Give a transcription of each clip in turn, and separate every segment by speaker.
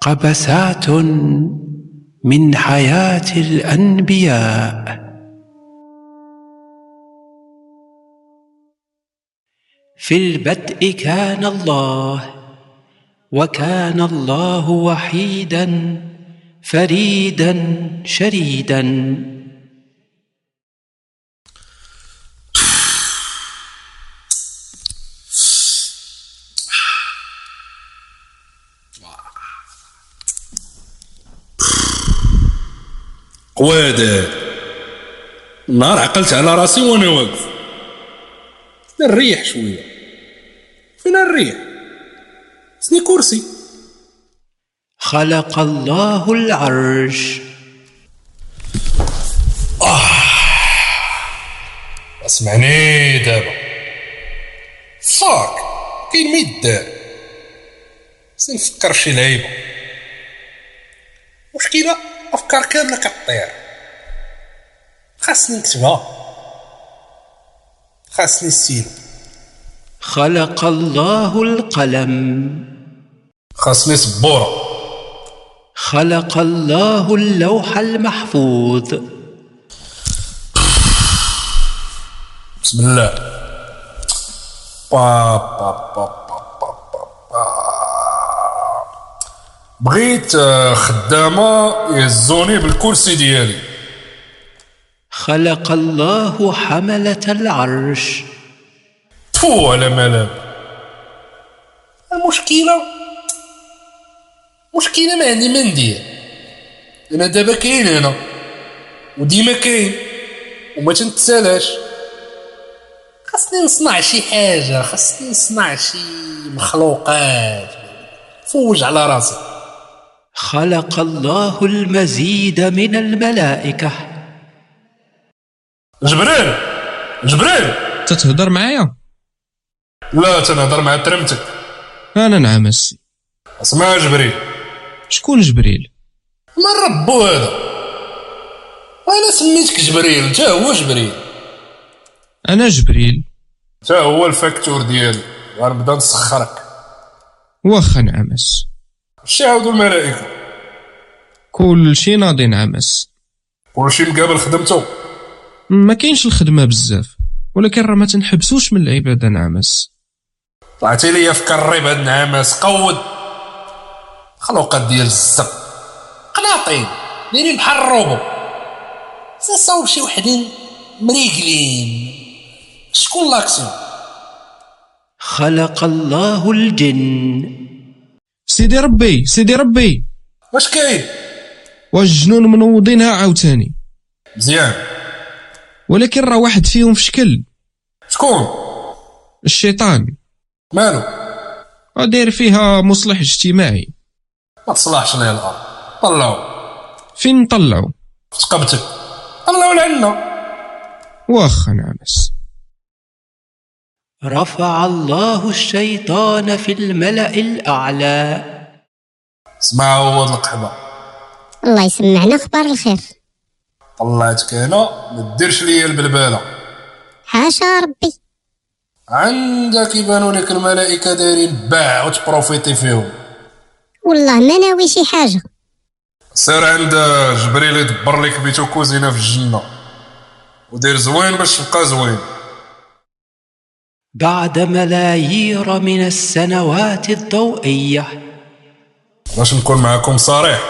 Speaker 1: قبسات من حياة الأنبياء في البدء كان الله وكان الله وحيدا فريدا شريدا
Speaker 2: قواد نهار عقلت على راسي وانا واقف نريح شويه فين الريح سني كرسي
Speaker 1: خلق الله العرش
Speaker 2: اسمعني دابا فاك كاين ما يدار سنفكر شي لعيبه مشكله افكار كامله كطير خاصني نكتبها خاصني السيلو
Speaker 1: خلق الله القلم
Speaker 2: خاصني سبوره
Speaker 1: خلق الله اللوح المحفوظ
Speaker 2: بسم الله با با با با با با با. بغيت آه، خدامه يهزوني بالكرسي ديالي
Speaker 1: خلق الله حملة العرش
Speaker 2: تفو على ملام E المشكلة مشكلة ما عندي ما ندير انا دابا كاين هنا وديما كاين وما تنتسالاش خاصني نصنع شي حاجة خاصني نصنع شي مخلوقات فوج على راسي
Speaker 1: خلق الله المزيد من الملائكة
Speaker 2: جبريل جبريل
Speaker 3: تتهضر معايا
Speaker 2: لا تنهضر مع ترمتك
Speaker 3: انا نعم السي
Speaker 2: اسمع جبريل
Speaker 3: شكون جبريل
Speaker 2: من ربو هذا انا سميتك جبريل تا هو جبريل
Speaker 3: انا جبريل
Speaker 2: تا هو الفاكتور ديالي غنبدا نسخرك
Speaker 3: واخا نعمس
Speaker 2: شي عاودوا الملائكه
Speaker 3: كل شي ناضي نعمس
Speaker 2: كلشي مقابل خدمته
Speaker 3: ما كاينش الخدمه بزاف ولكن راه ما تنحبسوش من العباده نعمس
Speaker 2: طلعتي ليا في كريب هاد النعماس قود خلوقات ديال الزب قلاطين دايرين بحال الروبو تصاوب شي وحدين مريقلين شكون لاكسون
Speaker 1: خلق الله الجن
Speaker 3: سيدي ربي سيدي ربي
Speaker 2: واش كاين
Speaker 3: واش الجنون منوضينها عاوتاني
Speaker 2: مزيان
Speaker 3: ولكن راه واحد فيهم في شكل
Speaker 2: شكون
Speaker 3: الشيطان
Speaker 2: مالو
Speaker 3: راه داير فيها مصلح اجتماعي
Speaker 2: ما تصلحش ليه الارض طلعوا
Speaker 3: فين نطلعو
Speaker 2: تقبتك طلعوا لعنا
Speaker 3: واخا نعمس
Speaker 1: رفع الله الشيطان في الملأ الأعلى
Speaker 2: سمعوا هو هاد القحبه
Speaker 4: الله يسمعنا اخبار الخير
Speaker 2: طلعتك هنا ما ديرش ليا البلباله
Speaker 4: حاشا ربي
Speaker 2: عندك يبانوا لك الملائكه دايرين باع وتبروفيتي فيهم
Speaker 4: والله ما ناوي شي حاجه
Speaker 2: سير عند جبريل يدبر لك بيت وكوزينه في الجنه ودير زوين باش تبقى زوين
Speaker 1: بعد ملايير من السنوات الضوئية
Speaker 2: باش نكون معاكم صريح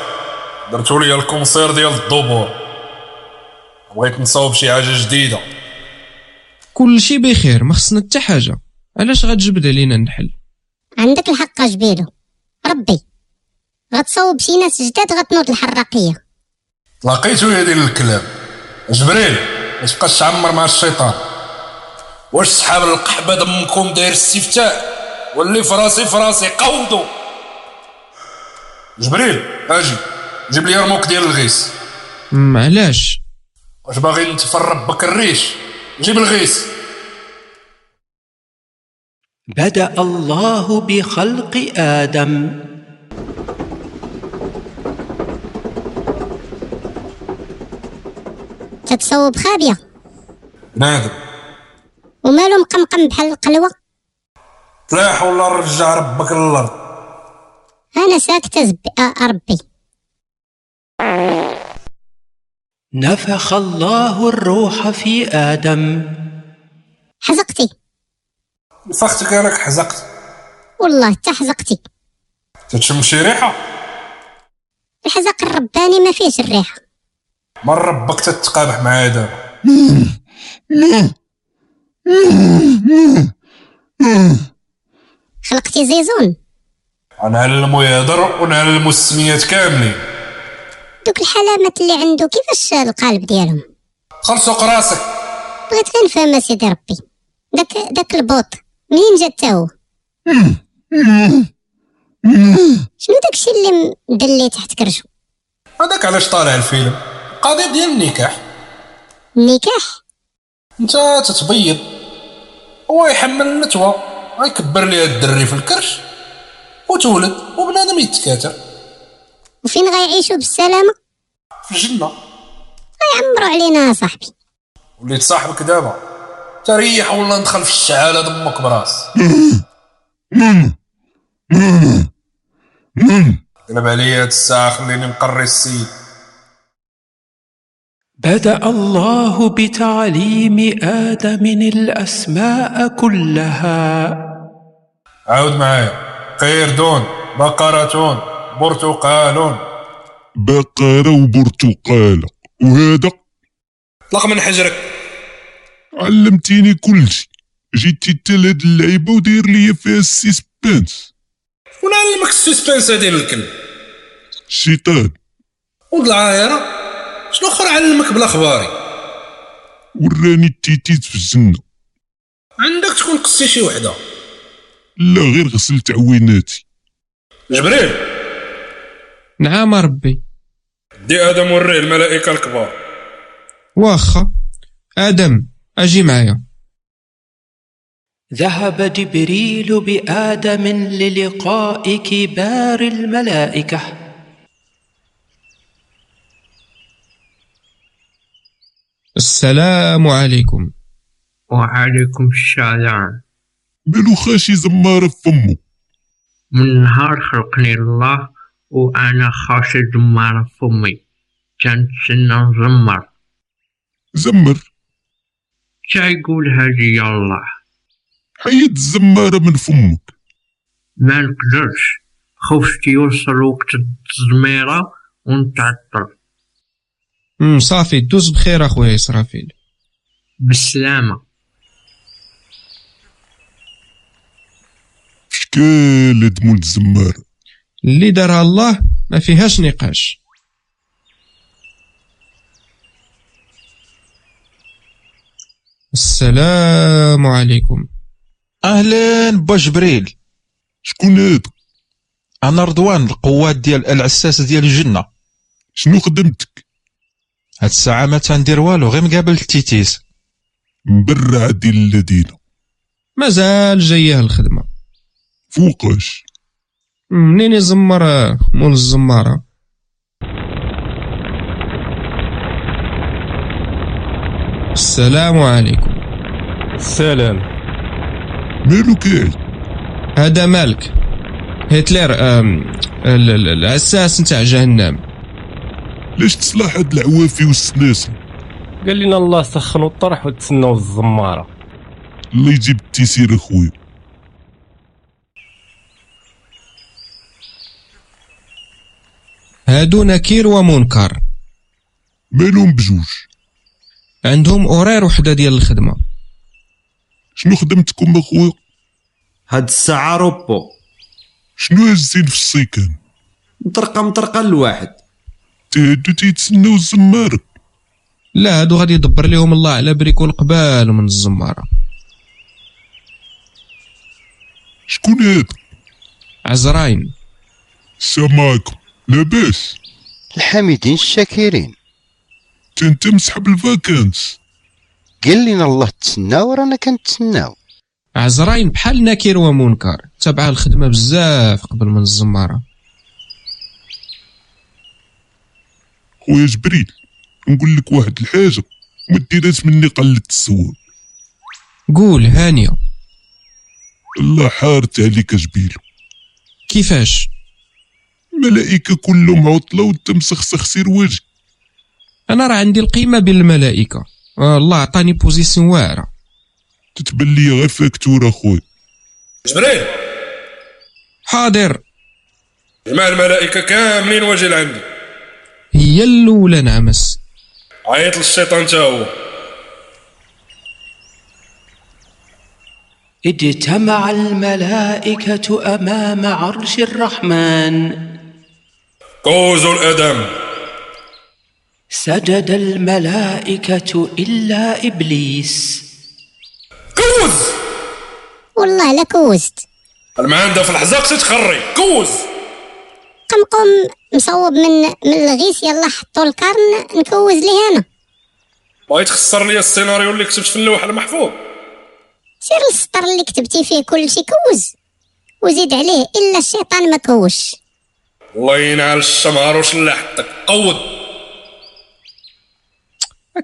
Speaker 2: درتو ليا الكونسير ديال الدبور بغيت نصاوب شي حاجه جديده
Speaker 3: كلشي بخير ما خصنا حتى حاجه علاش غتجبد علينا النحل
Speaker 4: عندك الحق جبيلو ربي غتصوب شي ناس جداد غتنوض الحراقيه
Speaker 2: لقيتو يا ديال الكلام جبريل ما تبقاش تعمر مع الشيطان واش صحاب القحبه دمكم داير استفتاء واللي في راسي في راسي قوضوا جبريل اجي جيب لي رموك ديال الغيس
Speaker 3: أم، علاش
Speaker 2: واش باغي نتفرب بك الريش جيب الغيس
Speaker 1: بدأ الله بخلق آدم
Speaker 4: تتصوب خابيه
Speaker 2: نادم
Speaker 4: ومالو مقمقم بحال القلوه
Speaker 2: تلاح ولا رجع ربك للارض
Speaker 4: انا ساكته زبي آه، ربي
Speaker 1: نفخ الله الروح في آدم
Speaker 4: حزقتي
Speaker 2: نفختك راك حزقت
Speaker 4: والله حتى حزقتي
Speaker 2: تتشم شي ريحه
Speaker 4: الحزق الرباني ما فيهش الريحه
Speaker 2: من ربك تتقابح معايا دابا
Speaker 4: خلقتي زيزون
Speaker 2: غنعلمو يهضر ونعلمو السميات كاملين
Speaker 4: دوك الحلامات اللي عنده كيفاش القالب ديالهم
Speaker 2: خلصق راسك
Speaker 4: بغيت غير نفهم سيدي ربي داك داك البوط منين جا تا هو شنو داكشي اللي مدلي تحت كرشو
Speaker 2: هذاك علاش طالع الفيلم قضية ديال النكاح
Speaker 4: النكاح
Speaker 2: انت تتبيض هو يحمل النتوى غيكبر ليها الدري في الكرش وتولد وبنادم يتكاتر
Speaker 4: وفين غيعيشوا بالسلامه
Speaker 2: في الجنة
Speaker 4: غيعمروا علينا يا صاحبي
Speaker 2: وليت صاحبك دابا تريح ولا ندخل في الشعالة دمك براس قلب عليا هاد الساعة خليني نقري السيد
Speaker 1: بدأ الله بتعليم آدم الأسماء كلها
Speaker 2: عاود معايا قيردون بقرة برتقال
Speaker 5: بقرة وبرتقالة وهذا
Speaker 2: طلق من حجرك
Speaker 5: علمتيني كلشي جيتي حتى لهاد اللعيبة وداير ليا فيها السيسبانس
Speaker 2: ونعلمك السسبنس ديال الكلب
Speaker 5: الشيطان
Speaker 2: ولد العايرة شنو اخر علمك بلا خباري
Speaker 5: وراني التيتيت في الجنة
Speaker 2: عندك تكون قصي شي وحدة
Speaker 5: لا غير غسلت عويناتي
Speaker 2: جبريل
Speaker 3: نعم ربي
Speaker 2: دي ادم وريه الملائكة الكبار
Speaker 3: واخا آدم أجي معايا
Speaker 1: ذهب جبريل بآدم للقاء كبار الملائكة
Speaker 3: السلام عليكم
Speaker 6: وعليكم السلام
Speaker 5: مالو خاشي زمارة في فمو
Speaker 6: من نهار خلقني الله وأنا خاشي دمارة فمي كنتسنى نزمر
Speaker 5: زمر
Speaker 6: تيقول هادي يا الله
Speaker 5: حيد الزمارة من فمك
Speaker 6: ما نقدرش خفت يوصل وقت التزميرة ونتعطل
Speaker 3: مم صافي دوز بخير أخويا إسرافيل
Speaker 6: بالسلامة
Speaker 5: شكال هاد مول الزمارة
Speaker 3: اللي دارها الله ما فيهاش نقاش السلام عليكم
Speaker 7: اهلا با جبريل
Speaker 5: شكون هذا
Speaker 7: انا رضوان القوات ديال العساس ديال الجنه
Speaker 5: شنو خدمتك
Speaker 7: هاد الساعه ما تندير والو غير مقابل التيتيس
Speaker 5: مبرع ديال الذين
Speaker 3: مازال جايه الخدمه
Speaker 5: فوقاش
Speaker 3: منين يزمر آه، مول الزماره السلام عليكم
Speaker 8: السلام
Speaker 5: مالو كاعي
Speaker 3: هذا مالك هتلر آم، ال- ال- الاساس نتاع جهنم
Speaker 5: لاش تصلح هاد العوافي والسناسل
Speaker 8: قال لنا الله سخنوا الطرح وتسناو الزماره
Speaker 5: الله يجيب التيسير اخويا
Speaker 3: هادو نكير ومنكر
Speaker 5: مالهم بجوج
Speaker 3: عندهم اورير وحده ديال الخدمه
Speaker 5: شنو خدمتكم اخويا
Speaker 9: هاد الساعة روبو
Speaker 5: شنو هازين في السيكان
Speaker 9: مطرقة مطرقة الواحد
Speaker 5: تهدو تيتسناو الزمارة
Speaker 3: لا هادو غادي يدبر ليهم الله على بريكو القبال من الزماره
Speaker 5: شكون هذا
Speaker 3: عزراين
Speaker 5: سامعكم لاباس
Speaker 10: الحامدين الشاكرين
Speaker 5: تا انت مسحب الفاكانس
Speaker 10: قال لنا الله تسناو رانا كنتسناو
Speaker 3: عزراين بحال نكير ومنكر تبع الخدمه بزاف قبل من الزماره
Speaker 5: خويا جبريل نقول لك واحد الحاجة ما ديرهاش مني قلة السواب
Speaker 3: قول هانيه
Speaker 5: الله حارت عليك جبيلو
Speaker 3: كيفاش
Speaker 5: الملائكة كلهم عطلة وانت مسخسخ سير واجهك
Speaker 3: انا راه عندي القيمه بين الملائكه آه الله عطاني بوزيسيون واعره
Speaker 5: تتبان لي غير فاكتور اخويا
Speaker 2: جبريل
Speaker 3: حاضر
Speaker 2: جمع الملائكة كاملين واجل عندي
Speaker 3: هي الاولى نعمس
Speaker 2: عيط للشيطان تا هو
Speaker 1: اجتمع الملائكة أمام عرش الرحمن
Speaker 2: كوزوا الادم
Speaker 1: سجد الملائكة إلا إبليس
Speaker 2: كوز
Speaker 4: والله لا كوزت
Speaker 2: المعاندة في الحزاق تتخري كوز
Speaker 4: قمقم مصوب من من الغيس يلا حطو القرن نكوز ليه انا
Speaker 2: بغيت تخسر لي السيناريو اللي كتبت في اللوح المحفوظ
Speaker 4: سير للسطر اللي كتبتي فيه كل شي كوز وزيد عليه الا الشيطان ما كوش
Speaker 2: الله ينعل الشمهر وشلح حتى قود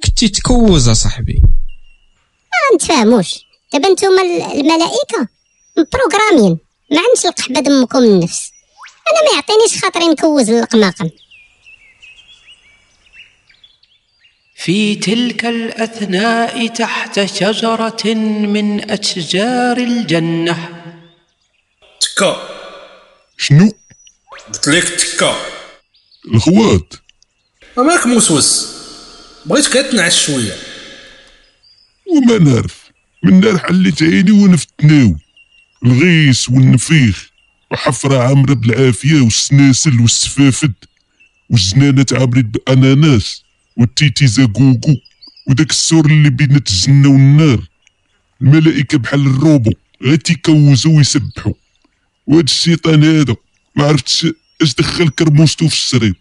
Speaker 3: كنتي تكوز صاحبي
Speaker 4: ما نتفاهموش دابا نتوما ال- الملائكه مبروغرامين ما عندش القحبه دمكم النفس انا ما يعطينيش خاطري نكوز للقماقم
Speaker 1: في تلك الأثناء تحت شجرة من أشجار الجنة
Speaker 2: تكا
Speaker 5: شنو
Speaker 2: قلت لك تكا
Speaker 5: الخوات
Speaker 2: مالك موسوس بغيت كتنعس شويه
Speaker 5: وما نعرف من نار حليت عيني وانا في التناول الغيس والنفيخ وحفرة عامرة بالعافية والسناسل والسفافد والزنانة عامرة بأناناس والتيتي زاكوكو وداك السور اللي بينات الجنة والنار الملائكة بحال الروبو غير تيكوزو ويسبحو وهاد الشيطان هذا ما عرفتش اش دخل كرموستو في السرير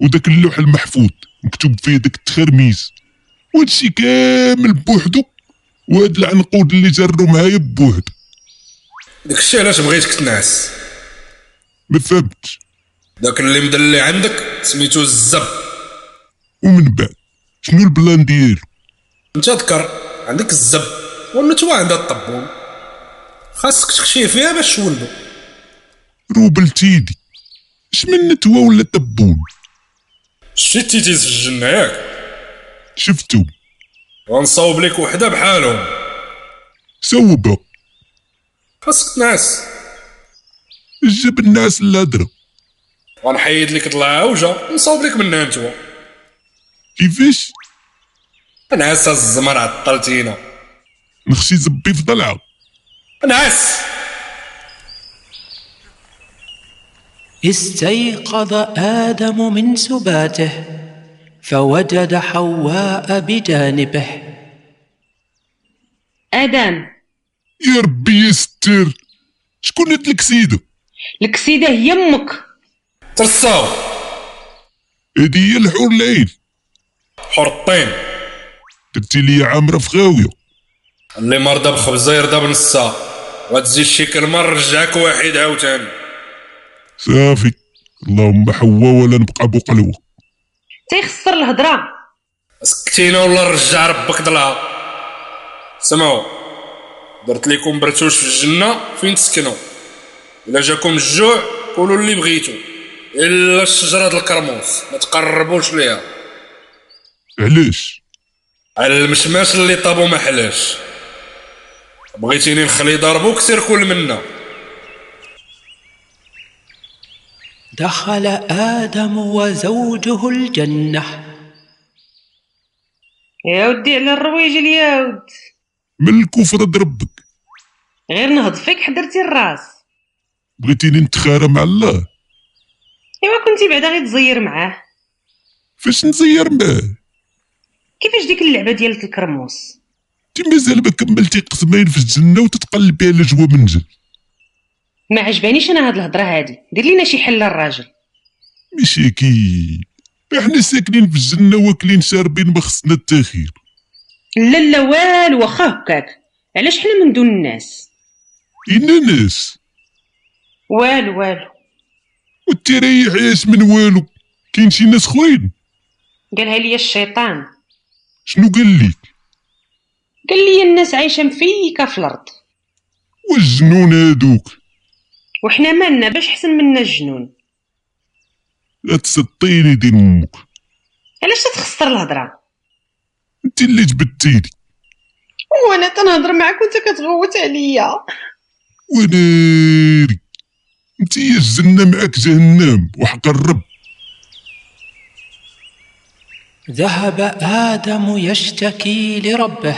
Speaker 5: وداك اللوح المحفوظ مكتوب فيه داك التخرميز وهادشي كامل بوحدو وهاد العنقود اللي جرو معايا بوحدو
Speaker 2: داك الشيء علاش بغيتك تنعس
Speaker 5: ما فهمتش
Speaker 2: داك اللي مدلي عندك سميتو الزب
Speaker 5: ومن بعد شنو البلان ديالو
Speaker 2: انت ذكر عندك الزب والنتوى عندها الطبون خاصك تخشيه فيها باش تولدو
Speaker 5: روبل تيدي شمن نتوى ولا طبون
Speaker 2: شتي تيز في الجنة ياك
Speaker 5: شفتو
Speaker 2: غنصاوب لك وحدة بحالهم
Speaker 5: سوبا
Speaker 2: خاصك تنعس
Speaker 5: جاب الناس الهضرة
Speaker 2: غنحيد لك العوجة ونصاوب لك منها نتوى
Speaker 5: كيفاش
Speaker 2: نعس الزمر عطلتينا
Speaker 5: نخشي زبي في ضلعة
Speaker 2: نعس
Speaker 1: استيقظ آدم من سباته فوجد حواء بجانبه
Speaker 11: آدم
Speaker 5: يا ربي يستر شكون هاد الكسيدة
Speaker 11: الكسيدة هي أمك
Speaker 2: ترصاو
Speaker 5: هادي هي الحور العين
Speaker 2: حرطين
Speaker 5: درتي ليا عامرة في خاوية
Speaker 2: اللي مرضى بخبزة يرضى بنصا وتزيد شي كلمة نرجعك واحد عاوتاني
Speaker 5: صافي اللهم حوا ولا نبقى بقلوة
Speaker 11: تيخسر الهضرة
Speaker 2: سكتينا ولا نرجع ربك ضلعها سمعوا درت لكم برتوش في الجنة فين تسكنوا إلا جاكم الجوع قولوا اللي بغيتو إلا الشجرة ديال الكرموس ما تقربوش ليها
Speaker 5: علاش
Speaker 2: على المشماش اللي طابو ما حلاش بغيتيني نخلي ضربوك سير كل منا
Speaker 1: دخل آدم وزوجه الجنة
Speaker 11: يا ودي على الرويجل يا ود
Speaker 5: من الكفر ضربك
Speaker 11: غير نهض فيك حضرتي الراس
Speaker 5: بغيتيني نتخارى مع الله
Speaker 11: إيوا كنتي بعدا غير تزير معاه
Speaker 5: فاش نزير معاه
Speaker 11: كيفاش ديك اللعبة ديال الكرموس
Speaker 5: انت مازال ما كملتي قسمين في الجنة وتتقلبي على جوا منجل
Speaker 11: ما عجبانيش أنا هاد الهضرة هادي دير لينا شي حل للراجل
Speaker 5: مساكين احنا ساكنين في الجنة واكلين شاربين ما خصنا التاخير
Speaker 11: لا لا والو واخا هكاك علاش حنا من دون الناس
Speaker 5: إنا ناس
Speaker 11: والو والو
Speaker 5: والتريح ياس من والو كاين شي ناس خوين
Speaker 11: قالها لي الشيطان
Speaker 5: شنو قال لي
Speaker 11: قال لي الناس عايشة مفيكة في الأرض
Speaker 5: والجنون هادوك
Speaker 11: وحنا مالنا باش حسن منا الجنون
Speaker 5: لا تسطيني دين امك
Speaker 11: علاش تتخسر الهضره
Speaker 5: انت اللي جبدتيني
Speaker 11: وانا تنهضر معك وانت كتغوت عليا
Speaker 5: وناري انت يا الجنه معك جهنم وحق الرب
Speaker 1: ذهب آدم يشتكي لربه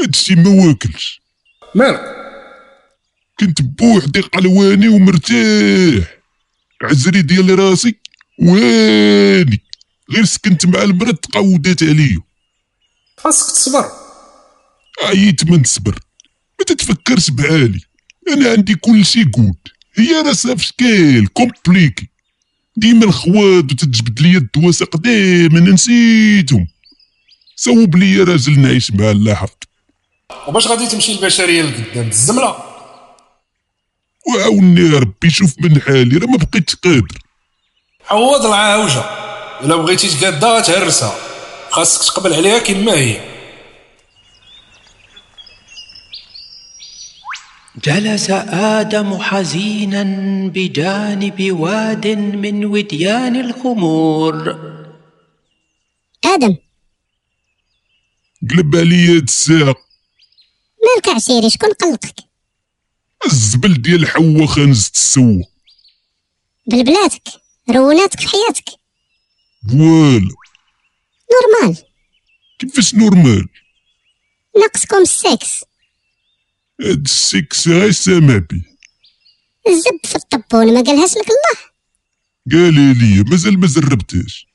Speaker 5: هادشي ما واكلش مالك كنت بوحدي قلواني ومرتاح عزري ديال راسي واني غير سكنت مع المرأة تقودات عليا
Speaker 2: خاصك تصبر
Speaker 5: عييت ما نصبر ما تتفكرش بعالي انا عندي كل شي قود هي راسها في شكال كومبليكي ديما الخواد وتتجبد ليا الدواسه قدام انا نسيتهم صوب ليا راجل نعيش معاه لاحق
Speaker 2: وباش غادي تمشي البشريه لقدام الزمله
Speaker 5: وعاوني يا ربي شوف من حالي راه ما بقيتش قادر
Speaker 2: عوض العاوجه الا بغيتي تقادا غتهرسها خاصك تقبل عليها كما هي
Speaker 1: جلس آدم حزينا بجانب واد من وديان الخمور
Speaker 4: آدم
Speaker 5: قلب عليا هاد الساعه
Speaker 4: مالك عسيري شكون قلقك
Speaker 5: الزبل ديال حوا خانزة السوا
Speaker 4: بلبلاتك روناتك في حياتك
Speaker 5: فوالا
Speaker 4: نورمال
Speaker 5: كيفاش نورمال
Speaker 4: ناقصكم السكس
Speaker 5: هاد السكس غير سامع بيه
Speaker 4: الزب في الطبون ما قالهاش لك الله
Speaker 5: قال لي مازال ما جربتهاش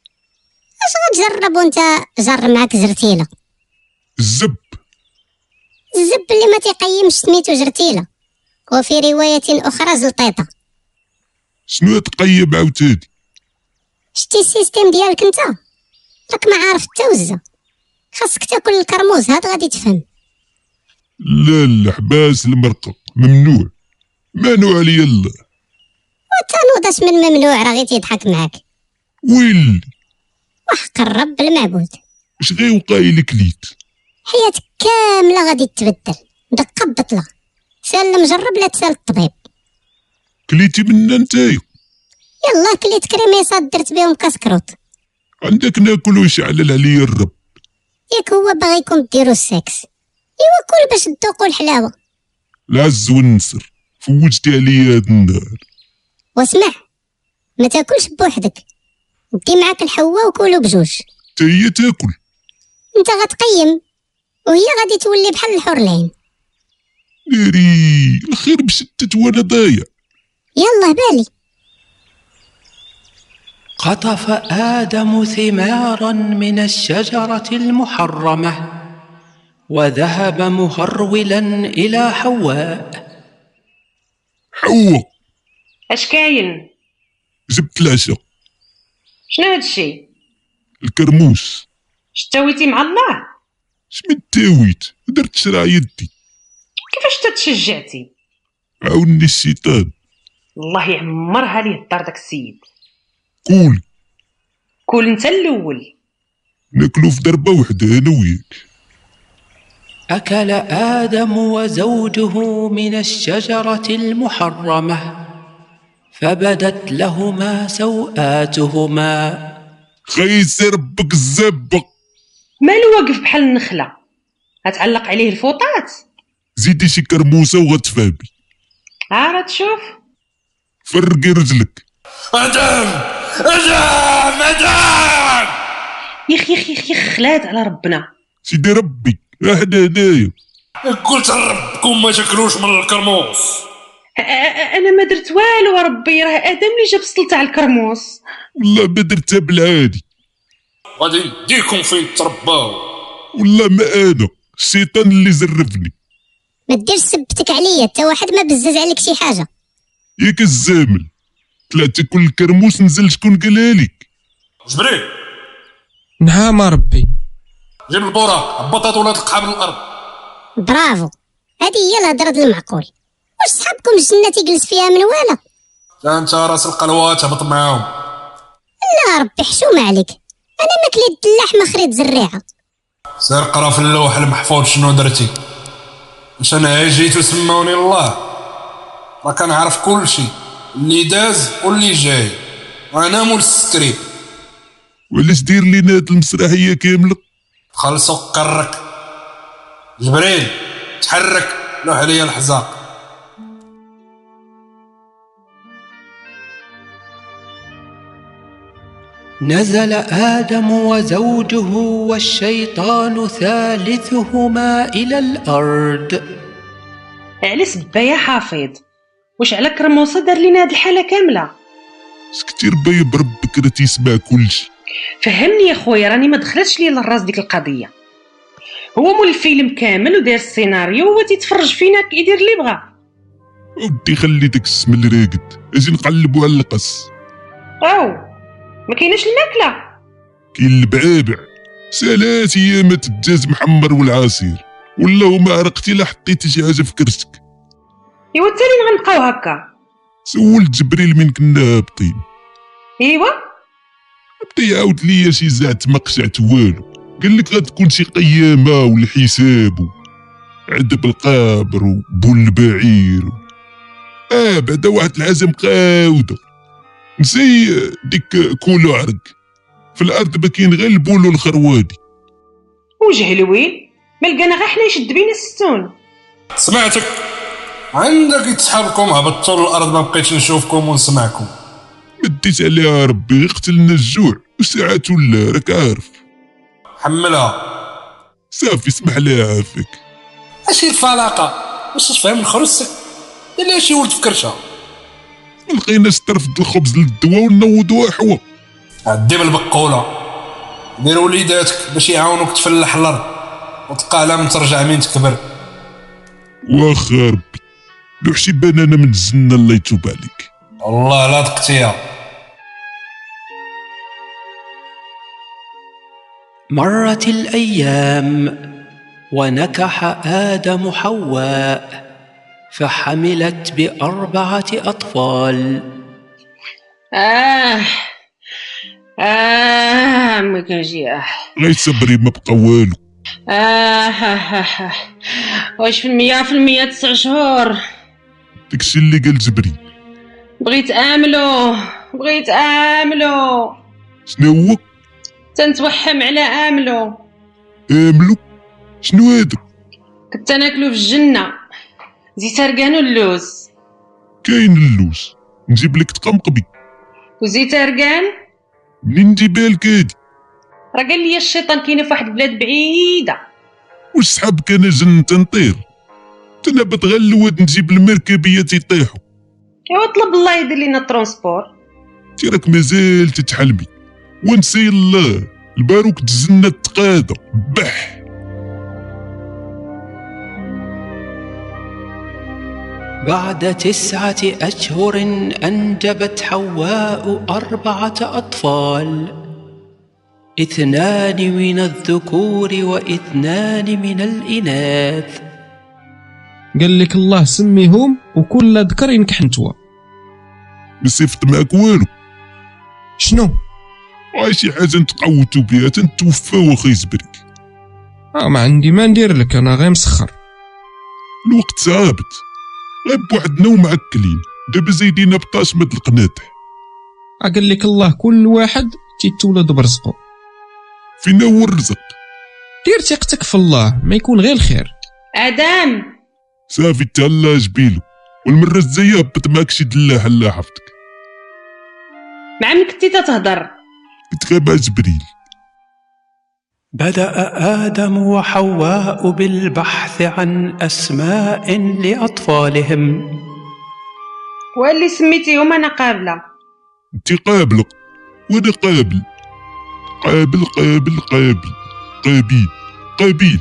Speaker 4: اش غتجرب وانت جر معاك زرتيله
Speaker 5: الزب
Speaker 4: الزب اللي ما تيقيمش سميتو جرتيله وفي روايه اخرى زلطيطه
Speaker 5: شنو تقيب عاوتاني
Speaker 4: شتي السيستيم ديالك انت راك ما عارف التوزه خاصك تاكل الكرموز هاد غادي تفهم
Speaker 5: لا لا حباس المرقه ممنوع مانوع عليا الله
Speaker 4: والتنوض اش من ممنوع راه غير تيضحك معاك
Speaker 5: ويلي
Speaker 4: وحق الرب المعبود
Speaker 5: اش غيوقع لك ليت
Speaker 4: حياتك كامله غادي تتبدل دقه بطله سال المجرب لا تسال الطبيب
Speaker 5: كليتي منا نتايا
Speaker 4: يلاه كليت كريميصات درت بهم كسكروت
Speaker 5: عندك ناكل ويشعلل عليا الرب
Speaker 4: ياك هو باغيكم ديروا السكس ايوا كل باش تذوقوا الحلاوه
Speaker 5: العز والنسر فوجتي عليا هاد النهار
Speaker 4: واسمع ما تاكلش بوحدك دي معاك الحوا وكلوا بجوج
Speaker 5: تا هي تاكل
Speaker 4: انت غتقيم وهي غادي تولي بحال الحرلين
Speaker 5: ناري الخير مشتت وانا ضايع
Speaker 4: يلا بالي
Speaker 1: قطف آدم ثمارا من الشجرة المحرمة وذهب مهرولا إلى حواء
Speaker 5: حوا
Speaker 11: اش كاين
Speaker 5: جبت العشاء
Speaker 11: شنو هادشي
Speaker 5: الكرموس
Speaker 11: شتاويتي مع الله
Speaker 5: شمن تاويت درت شرع يدي
Speaker 11: كيفاش تتشجعتي
Speaker 5: عاوني الشيطان
Speaker 11: الله يعمرها ليه الدار داك السيد
Speaker 5: قول
Speaker 11: كل انت الاول
Speaker 5: ناكلو في ضربه وحده انا وياك
Speaker 1: أكل آدم وزوجه من الشجرة المحرمة فبدت لهما سوآتهما
Speaker 5: خيس ربك الزبة
Speaker 11: مالو واقف بحال النخله غتعلق عليه الفوطات
Speaker 5: زيدي شي كرموسة وغتفهمي
Speaker 11: ها راه تشوف
Speaker 5: فرقي رجلك
Speaker 2: ادم ادم ادم
Speaker 11: يخ يخ يخ يخ خلاد على ربنا
Speaker 5: سيدي ربي احنا هنايا
Speaker 2: قلت لربكم ما تاكلوش من الكرموس
Speaker 11: أ- أ- أ- انا ما درت والو ربي راه ادم اللي جاب السلطه على الكرموس
Speaker 5: والله ما درتها بالعادي
Speaker 2: غادي نديكم فين ترباو
Speaker 5: والله ما انا الشيطان اللي زرفني
Speaker 4: ما ديرش سبتك عليا حتى واحد ما بزز عليك شي حاجه
Speaker 5: ياك الزامل طلعت كل الكرموس نزل شكون قالها لك
Speaker 2: جبريل
Speaker 3: نعم ربي
Speaker 2: جيب البوره هبطت ولا تلقى من الارض
Speaker 4: برافو هذه هي الهضره ديال المعقول واش صحابكم الجنه تيجلس فيها من ولا
Speaker 2: لا انت راس القلوات تهبط معاهم
Speaker 4: لا ربي حشومه عليك انا ما كليت الدلاح ما خريت زريعه
Speaker 2: سير قرا في اللوح المحفوظ شنو درتي واش انا جيت وسموني الله راه كنعرف كلشي اللي داز واللي جاي وانا مول السكريب
Speaker 5: وعلاش دير لينا هاد المسرحيه كامله
Speaker 2: خلصوا قرك جبريل تحرك لوح عليا الحزاق
Speaker 1: نزل آدم وزوجه والشيطان ثالثهما إلى الأرض
Speaker 11: علاش با يا حافظ واش على كرموسه دار لينا هاد الحاله كامله
Speaker 5: سكتي ربي بربك راه تيسمع كلشي
Speaker 11: فهمني يا خويا راني ما دخلتش ليا للراس ديك القضيه هو مول الفيلم كامل وداير السيناريو وهو تيتفرج فينا كيدير اللي بغا
Speaker 5: ودي خلي داك السمل راقد اجي نقلبو على القص
Speaker 11: او ما كايناش الماكله
Speaker 5: كاين البعابع ثلاث ايامات الدجاج محمر والعصير ولا ما عرقتي لا حطيتي شي حاجه في كرشك
Speaker 11: ايوا التالي غنبقاو هكا
Speaker 5: سولت جبريل من كنا هابطين
Speaker 11: ايوا
Speaker 5: بدا يعاود ليا شي زعت ما قشعت والو قال لك غتكون شي قيامه والحساب و عذب القابر وبول البعير و- اه بعدا واحد الحاجه مقاوده زي ديك كولو عرق في الارض ما كاين غير البول والخروادي
Speaker 11: وجهلوين ما لقانا غير حنا يشد بينا السون
Speaker 2: سمعتك عندك يتسحبكم هبطوا الارض ما بقيتش نشوفكم ونسمعكم
Speaker 5: مديت عليها ربي غير قتلنا الجوع وساعات ولا راك عارف
Speaker 2: حملها
Speaker 5: صافي اسمح لي عافاك
Speaker 2: اشي الفلاقه واش تفهم من خرسك الا شي ولد في كرشه
Speaker 5: ما لقيناش طرف الخبز للدواء ونوضوها حوا
Speaker 2: عدي بالبقوله دير وليداتك باش يعاونوك تفلح الارض وتقالى من ترجع من تكبر
Speaker 5: واخا ربي لوح شي بنانه من الزنه الله يتوب عليك
Speaker 2: والله لا تقتيها
Speaker 1: مرت الأيام ونكح آدم حواء فحملت بأربعة أطفال
Speaker 11: اه اه امي كنجي اه
Speaker 5: غير صبري ما بقى والو
Speaker 11: اه آه، آه، آه. واش في المية في المية تسع شهور
Speaker 5: داكشي اللي قال جبري
Speaker 11: بغيت املو بغيت املو
Speaker 5: شنو هو
Speaker 11: تنتوحم على املو
Speaker 5: املو شنو هذا
Speaker 11: كنت ناكلو في الجنه زيت اركانو اللوز
Speaker 5: كاين اللوز نجيب لك تقمقبي
Speaker 11: وزيت اركان
Speaker 5: منين نجيبها لك هادي
Speaker 11: راه قال لي الشيطان كاينه في واحد البلاد بعيده
Speaker 5: واش صحابك انا جن تنطير تنبت غير الواد نجيب المركبيه تيطيحوا
Speaker 11: ايوا طلب الله يدير لينا الترونسبور
Speaker 5: تي راك مازال تتحلمي ونسي الله الباروك تزنى التقاده بح
Speaker 1: بعد تسعة أشهر أنجبت حواء أربعة أطفال اثنان من الذكور واثنان من الإناث
Speaker 3: قال لك الله سميهم وكل ذكر ينكح نتوى
Speaker 5: ما صيفط معاك والو
Speaker 3: شنو
Speaker 5: واي شي حاجه نتقوتو بها تنتوفاو اخي زبرك
Speaker 3: اه ما عندي ما ندير لك انا غير مسخر
Speaker 5: الوقت ثابت غير بوحدنا ومعكلين دابا زايدين بطاش مد القناطح
Speaker 3: آه قال لك الله كل واحد تيتولد برزقه
Speaker 5: فينا هو الرزق
Speaker 3: دير ثقتك في الله ما يكون غير الخير
Speaker 11: ادم
Speaker 5: صافي تهلا جبيلو والمره الجايه هبط معاك شي دلاح الله حفظك
Speaker 11: مع من كنتي تتهضر
Speaker 5: تغيب جبريل
Speaker 1: بدأ آدم وحواء بالبحث عن أسماء لأطفالهم
Speaker 11: واللي سميتيهم انا قابله
Speaker 5: انت قابله وانا قابل قابل قابل قابل قابيل قابيل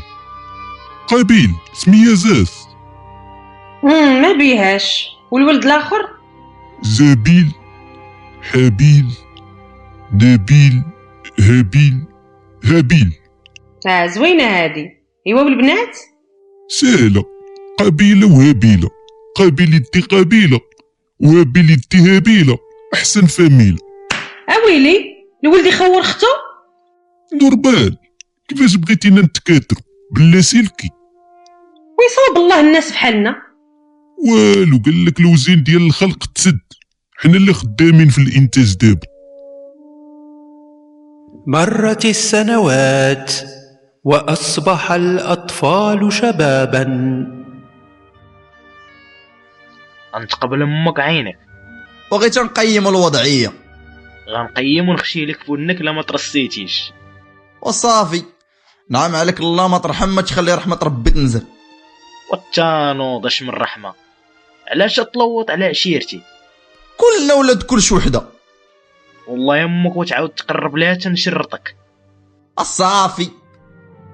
Speaker 5: قابيل سميه زاز
Speaker 11: مم، ما بيهاش والولد الاخر
Speaker 5: زابيل حابيل نبيل هابيل هابيل
Speaker 11: اه زوينه هادي ايوا والبنات
Speaker 5: سهلة قبيلة وهبيلة قبيلتي قبيلة وهبيلتي هبيلة أحسن فميلة
Speaker 11: اويلي الولد يخور اختو
Speaker 5: نورمال كيفاش بغيتينا نتكاترو بلا سلكي
Speaker 11: ويصاب الله الناس بحالنا
Speaker 5: والو قال لك الوزين ديال الخلق تسد حنا اللي خدامين في الانتاج دابا
Speaker 1: مرت السنوات واصبح الاطفال شبابا
Speaker 12: انت قبل امك عينك
Speaker 13: وغي تنقيم الوضعيه
Speaker 12: غنقيم ونخشي لك فنك لا ما ترسيتيش
Speaker 13: وصافي نعم عليك الله ما ترحم ما تخلي رحمه ربي تنزل
Speaker 12: والتانوض اش من رحمه علاش تلوط على عشيرتي
Speaker 13: كلنا ولاد كلش وحده
Speaker 12: والله يمك وتعاود تقرب لها تنشرطك
Speaker 13: الصافي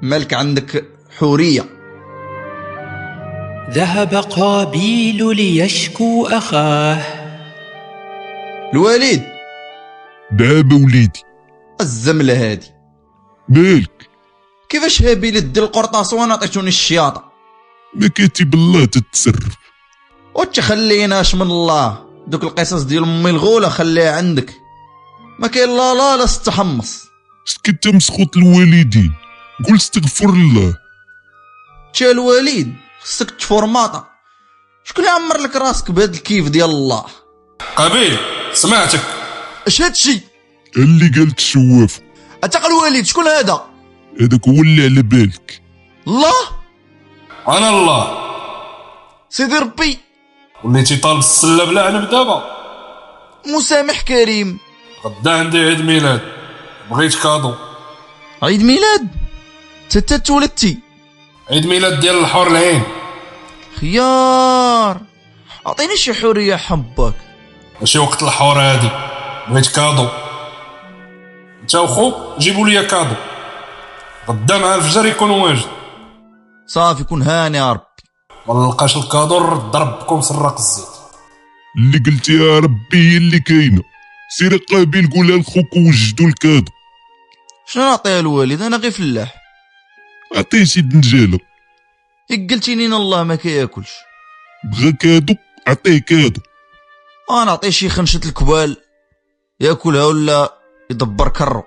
Speaker 13: مالك عندك حوريه
Speaker 1: ذهب قابيل ليشكو اخاه
Speaker 13: الوالد
Speaker 5: دابا وليدي
Speaker 13: الزمله هادي
Speaker 5: مالك
Speaker 13: كيفاش هابيل دي القرطاس وانا عطيتوني الشياطه
Speaker 5: ما كاتب الله تتصرف
Speaker 13: وتخليناش من الله دوك القصص ديال امي الغوله خليها عندك ما كاين لا لا لا التحمص
Speaker 5: سكت مسخوط الوالدين قول استغفر الله
Speaker 13: تا الوالد خصك تفورماطا شكون اللي عمر لك راسك بهاد الكيف ديال الله
Speaker 2: قبيل سمعتك
Speaker 13: اش هادشي
Speaker 5: اللي قالت الشواف
Speaker 13: اتق الوالد شكون هذا
Speaker 5: هذاك هو اللي على بالك
Speaker 13: الله
Speaker 2: انا الله
Speaker 13: سيدي ربي
Speaker 2: وليتي طالب السله بلا عنب دابا
Speaker 13: مسامح كريم
Speaker 2: غدا عندي عيد ميلاد بغيت كادو
Speaker 13: عيد ميلاد تتا تولدتي
Speaker 2: عيد ميلاد ديال الحور العين
Speaker 13: خيار اعطيني شي حوريه حبك
Speaker 2: ماشي وقت الحور هادي بغيت كادو انت وخوك جيبوا لي كادو غدا مع الفجر يكون واجد
Speaker 13: صافي كون هاني يا رب
Speaker 2: ما نلقاش الكادو رد ربكم سراق الزيت
Speaker 5: اللي قلتي يا ربي هي اللي كاينه سير قابيل قولها لخوك وجدوا الكادو
Speaker 13: شنو نعطيها الوالد انا غير فلاح
Speaker 5: عطيه شي دنجاله
Speaker 13: قلتي لينا الله ما كياكلش
Speaker 5: بغا كادو عطيه كادو
Speaker 13: انا نعطيه شي خنشه الكبال ياكلها ولا يدبر كرو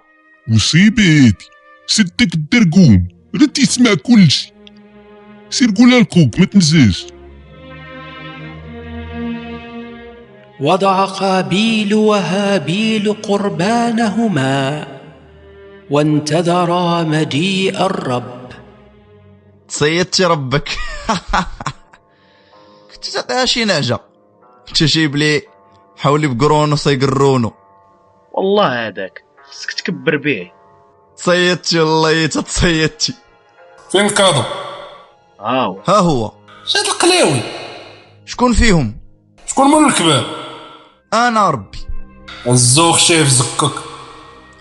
Speaker 5: مصيبه هادي سدك الدرقوم راه تيسمع كلشي سير قولها لخوك ما تنساش
Speaker 1: وضع قابيل وهابيل قربانهما وانتظرا مجيء الرب
Speaker 13: صيدتي ربك كنت تعطيها شي نعجه انت جايب لي حولي بقرونو سيقرونو
Speaker 12: والله هذاك خصك تكبر به
Speaker 13: صيدتي الله تصيدتي
Speaker 2: فين الكادو
Speaker 12: هاو
Speaker 13: ها هو
Speaker 2: شاد القلاوي
Speaker 13: شكون فيهم
Speaker 2: شكون مول الكباب
Speaker 13: انا ربي
Speaker 2: الزوخ شايف زكك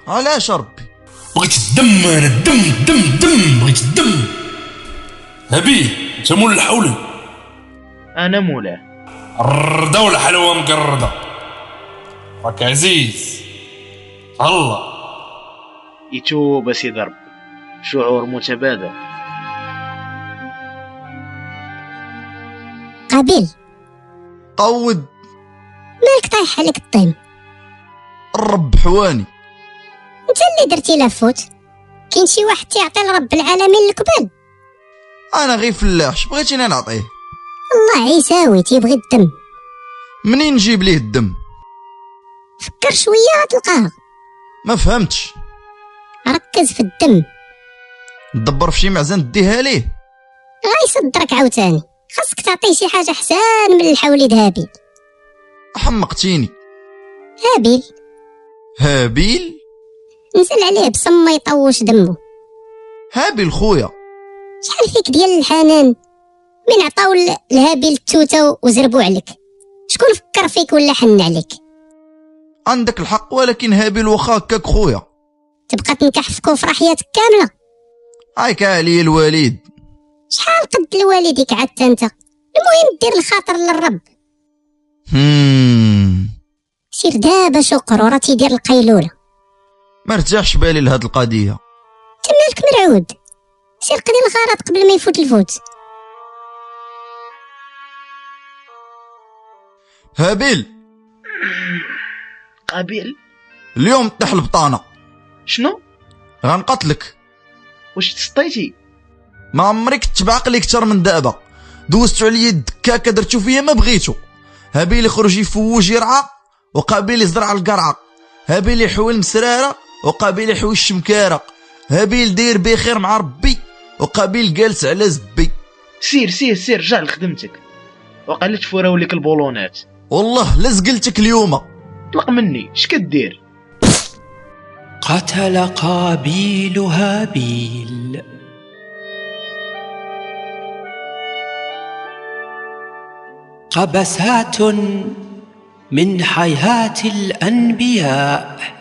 Speaker 13: علاش ربي
Speaker 2: بغيت الدم انا الدم الدم الدم بغيت الدم هبيل انت مول الحولي
Speaker 12: انا مولاه
Speaker 2: الردة والحلوة مقردة راك عزيز الله
Speaker 12: يتوب سيدي ربي شعور متبادل
Speaker 4: قابيل
Speaker 13: قود
Speaker 4: مالك طايح عليك الطين
Speaker 13: الرب حواني
Speaker 4: انت اللي درتي لافوت كاين شي واحد تيعطي لرب العالمين الكبال
Speaker 13: انا غير فلاح اش بغيتي انا نعطيه
Speaker 4: الله عيساوي تيبغي الدم
Speaker 13: منين نجيب ليه الدم
Speaker 4: فكر شويه غتلقاه
Speaker 13: ما فهمتش
Speaker 4: ركز في الدم
Speaker 13: ندبر في شي معزن ديها ليه
Speaker 4: غيصدرك عاوتاني خاصك تعطيه شي حاجه حسان من الحوليد هابيل
Speaker 13: حمقتيني
Speaker 4: هابيل
Speaker 13: هابيل
Speaker 4: نزل عليه بصم ما يطوش دمه
Speaker 13: هابيل خويا
Speaker 4: شحال فيك ديال الحنان من عطاو ل- لهابيل التوته وزربوا عليك شكون فكر فيك ولا حن عليك
Speaker 13: عندك الحق ولكن هابيل واخا هكاك خويا
Speaker 4: تبقى تنكح في كفر حياتك كامله
Speaker 13: هايك علي الوالد
Speaker 4: شحال قد لوالديك عدت انت المهم دير الخاطر للرب
Speaker 13: هم
Speaker 4: سير دابا شكر وراه تيدير القيلوله
Speaker 13: ما رجعش بالي لهاد القضيه
Speaker 4: تمالك مرعود سير قضي الغرض قبل ما يفوت الفوت
Speaker 13: هابيل
Speaker 12: قابيل
Speaker 13: اليوم طيح البطانه
Speaker 12: شنو
Speaker 13: غنقتلك
Speaker 12: واش تسطيتي
Speaker 13: ما عمرك تبعقلي اكثر من دابا دوزتو عليا الدكاكه درتو فيا ما بغيتو هابيل يخرج يفوج يرعى وقابيل يزرع القرعه هابيل يحول مسراره وقابيل حوش الشمكاره هابيل داير بخير مع ربي وقابيل جالس على زبي
Speaker 12: سير سير سير رجع لخدمتك وقال تفوراو لك البولونات
Speaker 13: والله لزقلتك اليوم
Speaker 12: طلق مني اش كدير
Speaker 1: قتل قابيل هابيل قبسات من حياه الانبياء